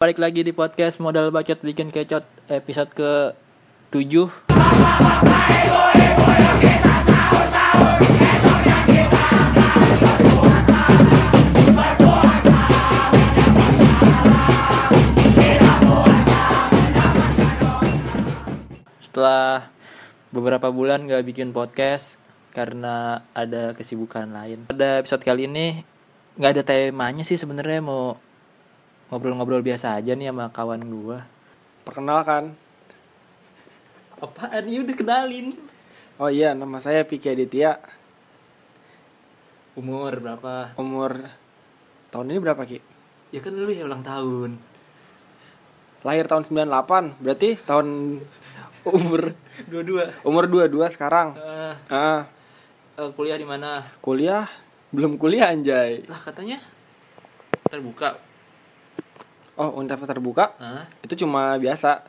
Balik lagi di podcast Modal Bacot Bikin Kecot episode ke 7 Setelah beberapa bulan gak bikin podcast karena ada kesibukan lain Pada episode kali ini gak ada temanya sih sebenarnya mau ngobrol-ngobrol biasa aja nih sama kawan gua Perkenalkan. Apaan? Ya udah kenalin Oh iya, nama saya Piki Aditya. Umur berapa? Umur tahun ini berapa, Ki? Ya kan lu ya ulang tahun Lahir tahun 98, berarti tahun umur Dua-dua umur 22 sekarang. Eh, Ah, eh, Kuliah di mana? kuliah belum kuliah anjay. Lah katanya terbuka Oh, Untav terbuka. Hah? Itu cuma biasa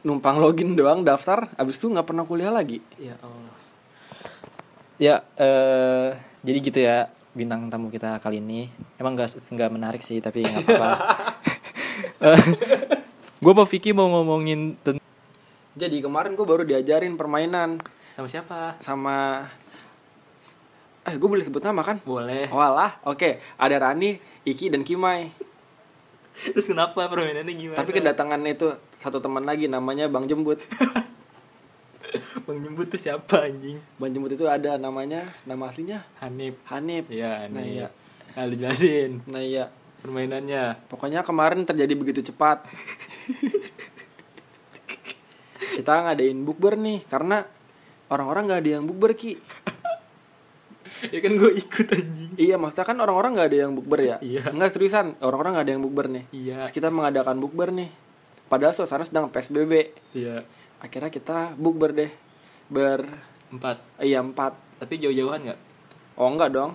numpang login doang daftar, abis itu nggak pernah kuliah lagi. Ya Allah Ya, eh, jadi gitu ya bintang tamu kita kali ini Emang gak, nggak menarik sih, tapi gak apa-apa Gue mau Vicky mau ngomongin tentang Jadi kemarin gue baru diajarin permainan Sama siapa? sama eh gue boleh sebut nama kan? Boleh Walah, oke, ada Rani, Iki dan Kimai. Terus kenapa permainannya gimana? Tapi kedatangan itu satu teman lagi namanya Bang Jembut. Bang Jembut tuh siapa anjing? Bang Jembut itu ada namanya, nama aslinya Hanif Hanif. Ya, Nah, ini iya. Nah, lu jelasin Nah iya, permainannya pokoknya kemarin terjadi begitu cepat. Kita ngadain bukber nih karena orang-orang nggak ada yang bukber ki. ya kan gue ikut anjing Iya, maksudnya kan orang-orang nggak ada yang bukber ya? Iya. Enggak seriusan, orang-orang nggak ada yang bukber nih. Iya. Terus kita mengadakan bukber nih. Padahal suasana sedang PSBB. iya Akhirnya kita bukber deh. Ber empat iya empat. tapi jauh-jauhan nggak Oh enggak dong.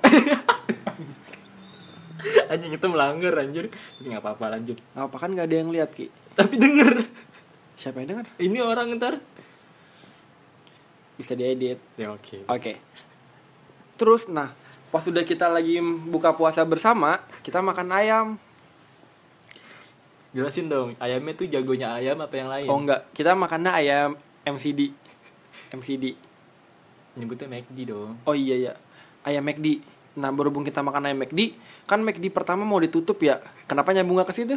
anjing itu melanggar anjir tapi nggak apa-apa lanjut Nah, apa kan nggak ada yang lihat ki? tapi denger Siapa yang dengar? ini orang ntar Bisa diedit. ya oke Oke. Terus nah pas sudah kita lagi buka puasa bersama kita makan ayam. jelasin dong ayamnya tuh jagonya ayam apa yang lain Oh enggak kita makannya ayam MCD. MCD. nyebutnya McD dong Oh iya ya ayam McD. Nah berhubung kita makan ayam McD kan McD pertama mau ditutup ya. Kenapa nyambung nggak ke situ?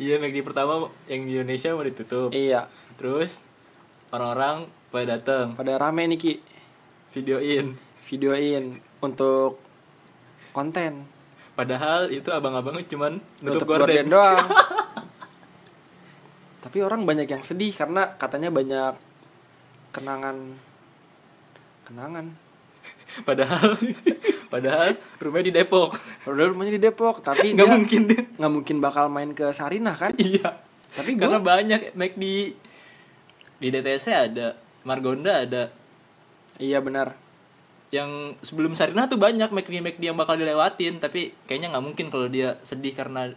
iya McD pertama yang di Indonesia mau ditutup iya terus orang-orang pada datang pada rame nih ki videoin videoin untuk konten. padahal itu abang-abangnya cuman nutup, nutup gorden, gorden doang. Tapi orang banyak yang sedih karena katanya banyak kenangan kenangan. padahal padahal rumahnya di Depok Padahal rumahnya di Depok, tapi nggak dia mungkin deh nggak mungkin bakal main ke Sarinah kan? iya Tapi karena gue banyak Mac di di DTC ada Margonda ada iya benar. yang sebelum Sarinah tuh banyak McD McD yang bakal dilewatin tapi kayaknya nggak mungkin kalau dia sedih karena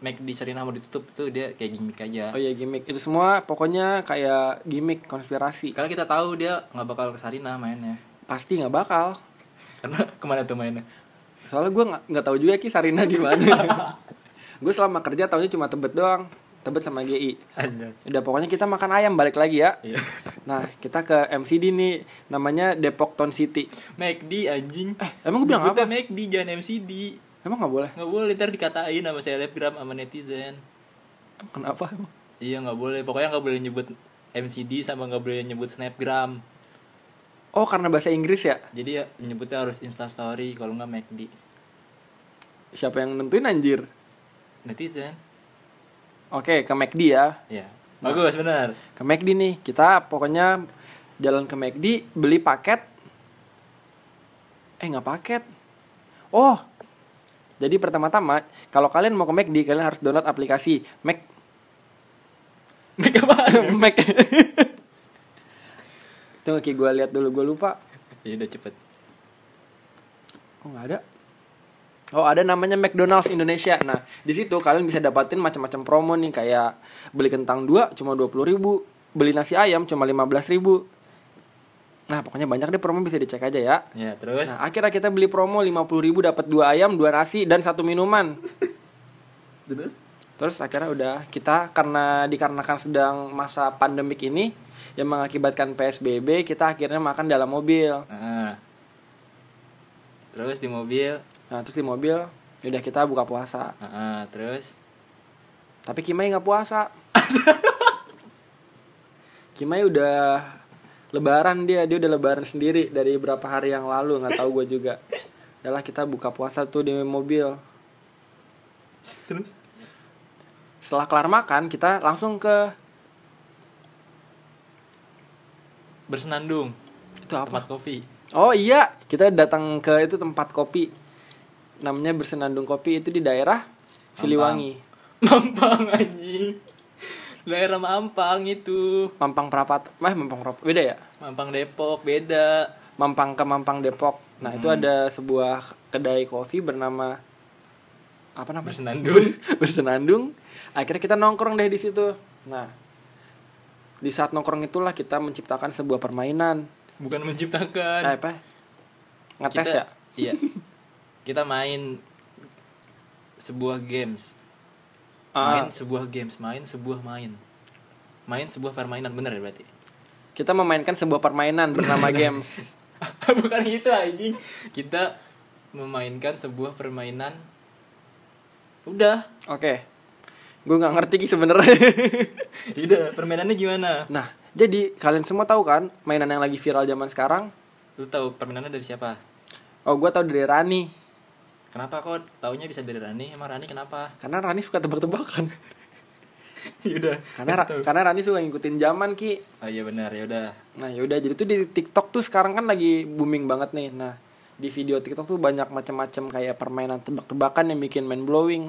McD Sarinah mau ditutup tuh dia kayak gimmick aja Oh iya gimmick. Itu semua pokoknya kayak gimmick konspirasi. karena kita tahu dia nggak bakal ke Sarinah mainnya Pasti nggak bakal. karena kemana tuh mainnya Soalnya gue nggak nggak tahu juga ki Sarinah di mana. gue selama kerja tahunya cuma Tebet doang. Tebet sama GI. Anjir. Udah pokoknya kita makan ayam balik lagi ya. Iya. Nah, kita ke MCD nih, namanya Depok Town City. McD anjing Eh, Emang gue bilang Nyebutnya apa? McD jangan MCD Emang nggak boleh? nggak boleh ntar dikatain sama selebgram sama netizen Kenapa? emang? Iya nggak boleh, pokoknya nggak boleh nyebut MCD sama nggak boleh nyebut snapgram. Oh, karena bahasa Inggris ya? Jadi ya nyebutnya harus instastory kalau nggak McD. Siapa yang nentuin anjir? Netizen. Oke, ke McD ya. Ya. Bagus benar. Ke McD nih, kita pokoknya jalan ke McD, beli paket. Eh, nggak paket. Oh, jadi pertama-tama, kalau kalian mau ke McD, kalian harus download aplikasi Mac. Mac apa? Mac. Tunggu, Ki, gue lihat dulu, gue lupa. ya udah cepet. Kok nggak ada? Oh ada namanya McDonald's Indonesia. Nah di situ kalian bisa dapatin macam-macam promo nih kayak beli kentang dua cuma dua puluh ribu, beli nasi ayam cuma lima belas ribu. Nah pokoknya banyak deh promo bisa dicek aja ya. Ya terus. Nah akhirnya kita beli promo lima puluh ribu dapat dua ayam, dua nasi dan satu minuman. terus Terus akhirnya udah kita karena dikarenakan sedang masa pandemik ini yang mengakibatkan PSBB kita akhirnya makan dalam mobil. Nah. Terus di mobil, Nah terus di mobil udah kita buka puasa. ah, terus Tapi Kimai nggak puasa. Kimai udah lebaran dia dia udah lebaran sendiri dari berapa hari yang lalu nggak tahu gue juga. Adalah kita buka puasa tuh di mobil. terus Setelah kelar makan kita langsung ke bersenandung itu apa? tempat kopi. Oh iya, kita datang ke itu tempat kopi. Namanya Bersenandung Kopi itu di daerah Siliwangi, Mampang anjing. Daerah Mampang itu. Mampang Prapat. Eh, Mampang Prapat. Beda ya? Mampang Depok beda. Mampang ke Mampang Depok. Nah, itu Hmm. ada sebuah kedai kopi bernama apa namanya? Bersenandung. Bersenandung. Akhirnya kita nongkrong deh di situ. Nah, di saat nongkrong itulah kita menciptakan sebuah permainan. Bukan Nah, menciptakan. apa? kita, Ngetes ya? Iya. Kita main sebuah games. Ah. Main sebuah games, main sebuah main. Main sebuah permainan bener ya berarti. Kita memainkan sebuah permainan bernama games. Bukan gitu anjing. Kita memainkan sebuah permainan. Udah. Oke. Gue nggak ngerti Ki, sebenarnya. Udah, permainannya gimana? nah, jadi kalian semua tahu kan mainan yang lagi viral zaman sekarang? Lu tahu permainannya dari siapa? Oh, gue tahu dari Rani. Kenapa kok taunya bisa dari Rani? Emang Rani kenapa? Karena Rani suka tebak-tebakan. Yaudah. karena Ra- karena Rani suka ngikutin zaman Ki. Oh iya benar, yaudah. Nah, yaudah jadi tuh di TikTok tuh sekarang kan lagi booming banget nih. Nah, di video TikTok tuh banyak macam-macam kayak permainan tebak-tebakan yang bikin mind blowing.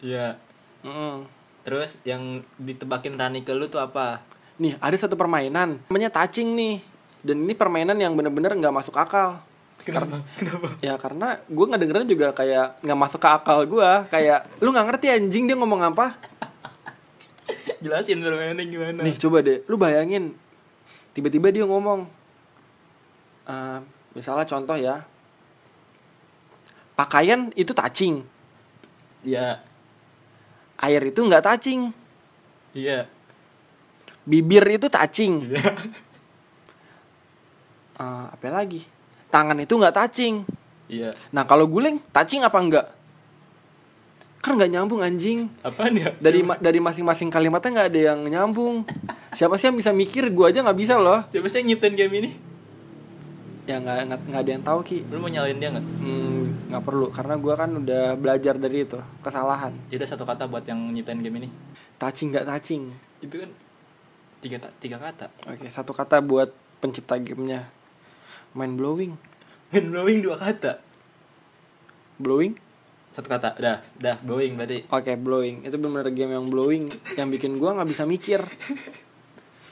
Iya. Mm. Terus yang ditebakin Rani ke lu tuh apa? Nih, ada satu permainan namanya touching nih. Dan ini permainan yang bener-bener nggak masuk akal. Kenapa? Kenapa? Ya karena gue ngedengerin juga kayak nggak masuk ke akal gue Kayak lu nggak ngerti anjing dia ngomong apa Jelasin permainannya gimana. Nih coba deh lu bayangin Tiba-tiba dia ngomong eh, Misalnya contoh ya Pakaian itu touching Iya. Air itu nggak touching Iya. Bibir itu touching Iya. Eh, Apa lagi Tangan itu nggak touching Iya. Nah kalau guling touching apa enggak Kan nggak nyambung anjing Apaan ya? dari ma- dari masing-masing kalimatnya nggak ada yang nyambung siapa sih yang bisa mikir gue aja nggak bisa loh Siapa sih yang nyiptain game ini? ya nggak nggak nggak ada yang tahu ki Lu mau nyalain dia nggak? Hmm, nggak perlu karena gue kan udah belajar dari itu kesalahan Yaudah Ya satu kata buat yang nyiptain game ini. touching nggak touching Itu kan tiga ta- tiga kata. oke satu kata buat pencipta gamenya mind blowing Mind blowing Kan dua kata. blowing Satu kata. Dah, dah blowing berarti. oke blowing itu benar game yang blowing yang bikin gue nggak bisa mikir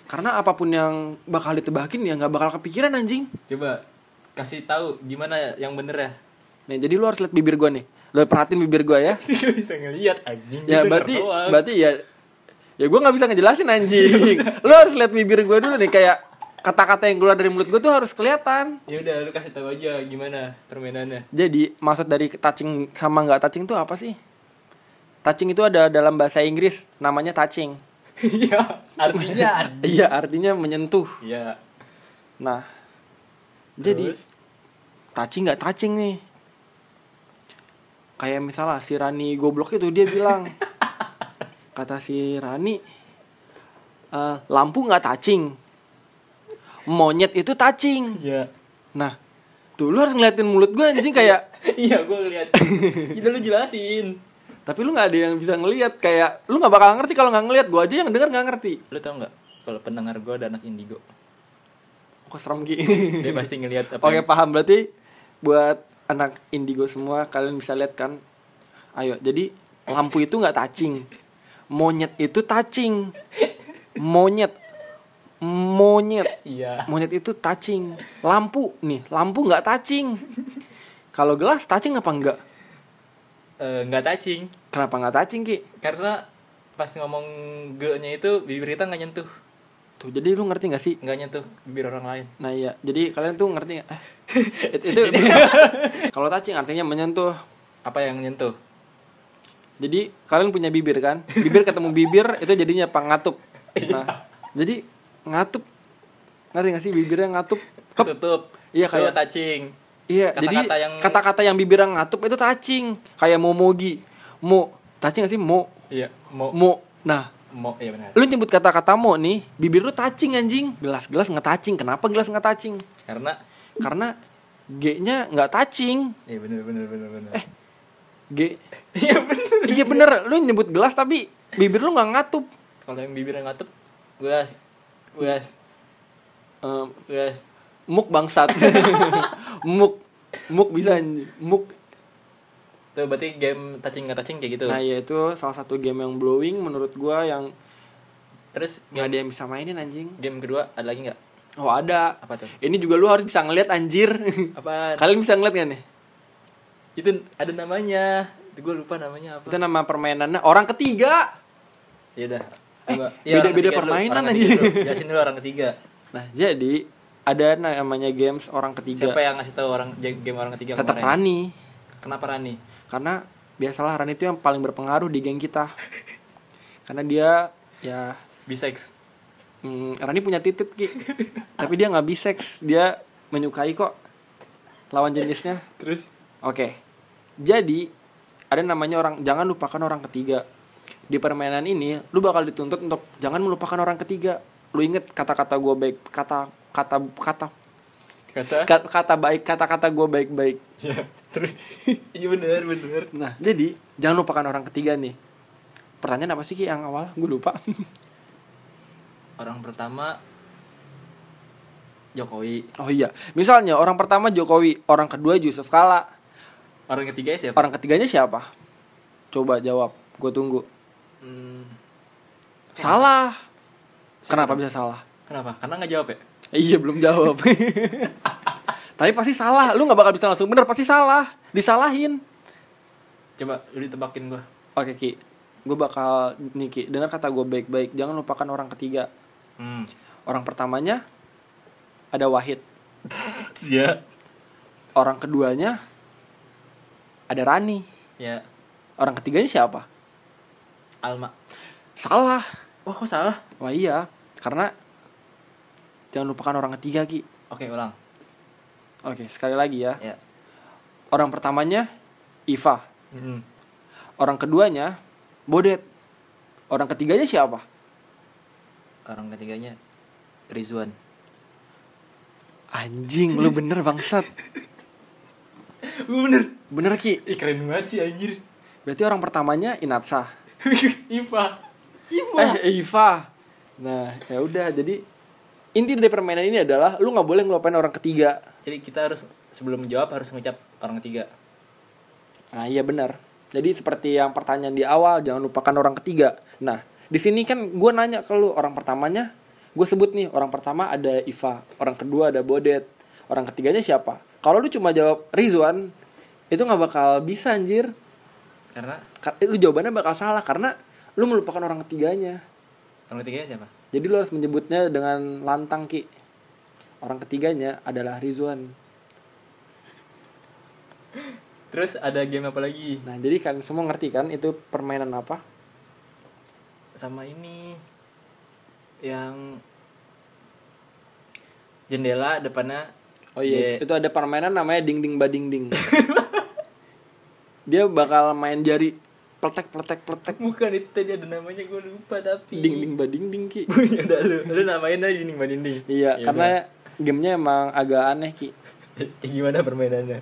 karena apapun yang bakal ditebakin ya nggak bakal kepikiran anjing Coba kasih tahu gimana yang bener ya. Nah, jadi lu harus lihat bibir gue nih. Lu perhatiin bibir gue ya. Gak bisa ngeliat anjing. ya Gitu berarti doang. berarti ya ya gue nggak bisa ngejelasin anjing lo harus lihat bibir gue dulu nih kayak kata-kata yang keluar dari mulut gue tuh harus kelihatan Ya udah lu kasih tahu aja gimana permainannya. jadi maksud dari touching sama nggak touching tuh apa sih touching itu ada dalam bahasa Inggris namanya touching Iya, artinya ada. iya artinya menyentuh Iya. nah jadi Terus? touching nggak touching nih kayak misalnya si Rani goblok itu dia bilang kata si Rani "Eh, lampu nggak touching monyet itu touching Iya. nah tuh lu harus ngeliatin mulut gue anjing kayak Iya, gua ngeliat. Jadi lu jelasin. tapi lu nggak ada yang bisa ngeliat kayak lu nggak bakal ngerti kalau nggak ngeliat gue aja yang denger nggak ngerti Lu tau nggak kalau pendengar gua ada anak indigo. kok serem Ki? Dia pasti ngeliat apa. Oke yang- paham berarti buat anak indigo semua kalian bisa lihat kan. Ayo jadi lampu itu nggak touching, monyet itu touching, monyet, monyet, Iya. monyet itu touching, lampu nih lampu nggak touching. Kalau gelas touching apa enggak? Eh, nggak touching Kenapa nggak touching ki? karena pas ngomong ge-nya itu bibir kita nggak nyentuh. Tuh jadi lu ngerti nggak sih? Nggak nyentuh bibir orang lain. Nah iya, jadi kalian tuh ngerti nggak? Eh, itu, itu- kalau touching artinya menyentuh Apa yang nyentuh? Jadi kalian punya bibir kan? Bibir ketemu bibir itu jadinya apa ngatup. Nah, jadi ngatup. Ngerti gak sih bibirnya ngatup? Hep. Tutup. Iya, kayak- Tuh, touching. Iya, Kata-kata jadi yang- kata-kata yang bibirnya ngatup itu touching. Kayak momogi. Mo, touching gak sih? Mo, Iya, mau mo. Nah, mau iya benar. lu nyebut kata-kata mo nih, bibir lu touching anjing. Gelas-gelas nggak touching. Kenapa gelas nggak touching? Karena Karena G-nya nggak touching. iya benar benar benar benar. Eh, G. iya benar. iya bener, lu nyebut gelas tapi bibir lu nggak ngatup. Kalau yang bibir yang ngatup, gulas. Gulas. Em, Gulas. Muk bangsat. muk. Muk bisa anjing. muk. Tuh berarti game touching nggak touching kayak gitu. Nah, ya itu salah satu game yang blowing menurut gua yang Terus game, nggak ada yang bisa mainin anjing. game kedua ada lagi nggak? Oh, ada. Apa tuh? Ini juga lu harus bisa ngeliat anjir. Apa? Kalian bisa ngeliat gak nih? itu ada namanya. Itu gue lupa namanya apa. Itu nama permainannya orang ketiga. Ya udah. Eh, Coba. beda-beda orang ketiga dulu, permainan orang ketiga aja. dulu. Jelasin dulu orang ketiga. Nah, jadi ada namanya games orang ketiga. Siapa yang ngasih tahu orang game orang ketiga Tetap kemarin? Rani. Kenapa Rani? Karena biasalah Rani itu yang paling berpengaruh di geng kita. Karena dia ya Bisex. Hmm, Rani punya titit ki, tapi dia nggak biseks, dia menyukai kok lawan jenisnya. Terus Oke, jadi ada namanya orang jangan lupakan orang ketiga. Di permainan ini, lu bakal dituntut untuk jangan melupakan orang ketiga. Lu inget kata-kata gue baik, kata kata kata kata ka- kata baik, kata-kata gue baik-baik. Ya, terus iya bener bener Nah, jadi jangan lupakan orang ketiga nih. Pertanyaan apa sih ki yang awal? Gue lupa. orang pertama Jokowi oh iya, misalnya orang pertama Jokowi, orang kedua Yusuf Kala, orang ketiga siapa Orang ketiganya siapa? Coba jawab, gue tunggu. Hmm, Salah. Kenapa bisa salah? kenapa karena nggak jawab ya Eh, iya belum jawab. Tapi pasti salah. Lu nggak bakal bisa langsung bener. Pasti salah. Disalahin. coba lu ditebakin gua Oke ki, gue bakal nih ki. Dengar kata gue baik-baik. Jangan lupakan orang ketiga. hmm. Orang pertamanya ada Wahid. ya Orang keduanya ada Rani. ya Orang ketiganya siapa? Alma Salah. wah kok salah Wah iya, karena jangan lupakan orang ketiga ki. oke ulang Oke, sekali lagi ya. ya Orang pertamanya Iva, hmm. orang keduanya Bodet, orang ketiganya siapa? orang ketiganya Rizwan Anjing, lu bener bangsat. Iya, bener Bener ki. Ih, keren banget sih anjir Berarti orang pertamanya Inatsa. Ipa Eh, Iva. Nah, ya udah. Jadi inti dari permainan ini adalah lu nggak boleh ngelupain orang ketiga. jadi kita harus sebelum jawab harus ngucap orang ketiga Nah, iya benar. Jadi seperti yang pertanyaan di awal, jangan lupakan orang ketiga. Nah, di sini kan gue nanya ke lu orang pertamanya, gue sebut nih orang pertama ada Iva, orang kedua ada Bodet, orang ketiganya siapa? Kalau lu cuma jawab Rizwan, itu nggak bakal bisa anjir. karena Ka- eh, Lu jawabannya bakal salah karena lu melupakan orang ketiganya. orang ketiganya siapa Jadi lu harus menyebutnya dengan lantang ki. Orang ketiganya adalah Rizwan. terus ada game apa lagi Nah, jadi kalian semua ngerti kan itu permainan apa? sama ini yang jendela depannya Oh iya, Ye- itu ada permainan namanya ding ding bading ding. Dia bakal main jari peletek peletek peletek bukan itu tadi ada namanya gue lupa tapi ding ding bading ding ki. punya dah lu lu namain aja dinding mbak dinding Iya, karena gamenya emang agak aneh ki. udah. gimana permainannya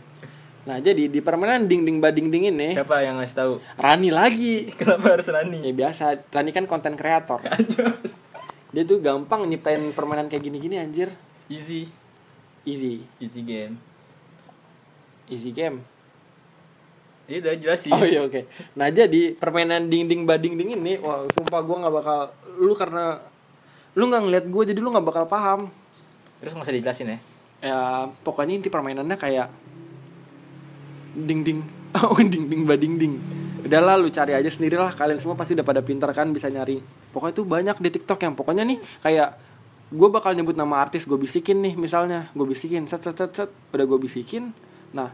Nah jadi di permainan ding ding bading ding ini siapa yang ngasih tahu Rani lagi. kenapa harus Rani Ya biasa, Rani kan konten kreator. Dia tuh gampang nyiptain permainan kayak gini-gini anjir. easy Easy, easy game easy game. ini udah jelas sih Oh iya oke. Nah jadi permainan ding ding bading ding ini, wah sumpah gue nggak bakal lu karena lu nggak ngeliat gue jadi lu nggak bakal paham. terus nggak usah dijelasin ya Ya pokoknya inti permainannya kayak ding ding, oh ding ding bading ding. Udahlah lu cari aja sendirilah kalian semua pasti udah pada pintar kan bisa nyari. Pokoknya itu banyak di TikTok yang pokoknya nih kayak gue bakal nyebut nama artis gue bisikin nih misalnya gue bisikin set set set set udah gue bisikin nah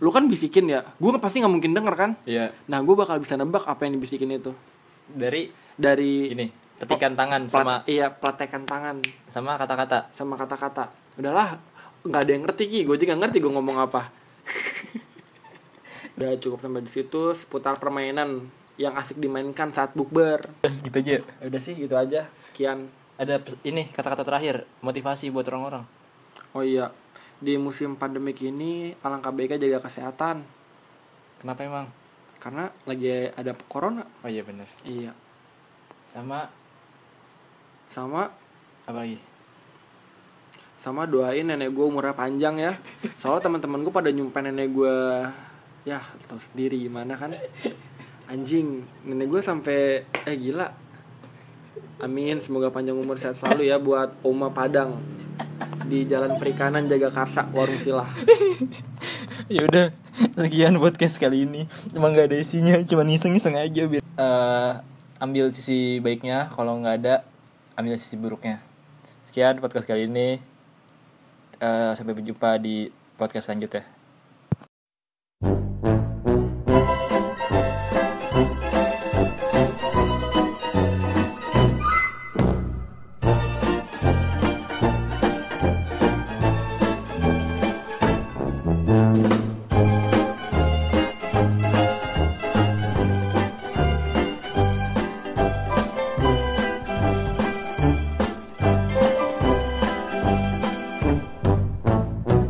lu kan bisikin ya gue pasti nggak mungkin denger kan Iya. nah gue bakal bisa nebak apa yang dibisikin itu Dari dari ini tetikan tangan plat- sama iya praktekan tangan sama kata-kata. sama kata-kata udahlah nggak ada yang ngerti ki gue juga nggak ngerti gue ngomong apa udah cukup sampai di situ seputar permainan yang asik dimainkan saat bukber gitu aja. Ya udah sih gitu aja sekian Ada pes- ini kata-kata terakhir motivasi buat orang-orang. oh iya di musim pandemik ini alangkah baiknya jaga kesehatan Kenapa emang? karena lagi ada corona Oh iya bener. iya Sama sama apa lagi? sama doain nenek gue umurnya panjang ya soalnya teman-teman gue pada nyumpain nenek gue ya tau sendiri gimana kan anjing nenek gue sampai eh gila amin semoga panjang umur sehat selalu ya buat oma padang di jalan perikanan jaga karsa warung silah ya udah sekian podcast kali ini emang nggak ada isinya cuma iseng-iseng aja biar Eh, ambil sisi baiknya kalau nggak ada ambil sisi buruknya sekian podcast kali ini Eh, sampai berjumpa di podcast selanjutnya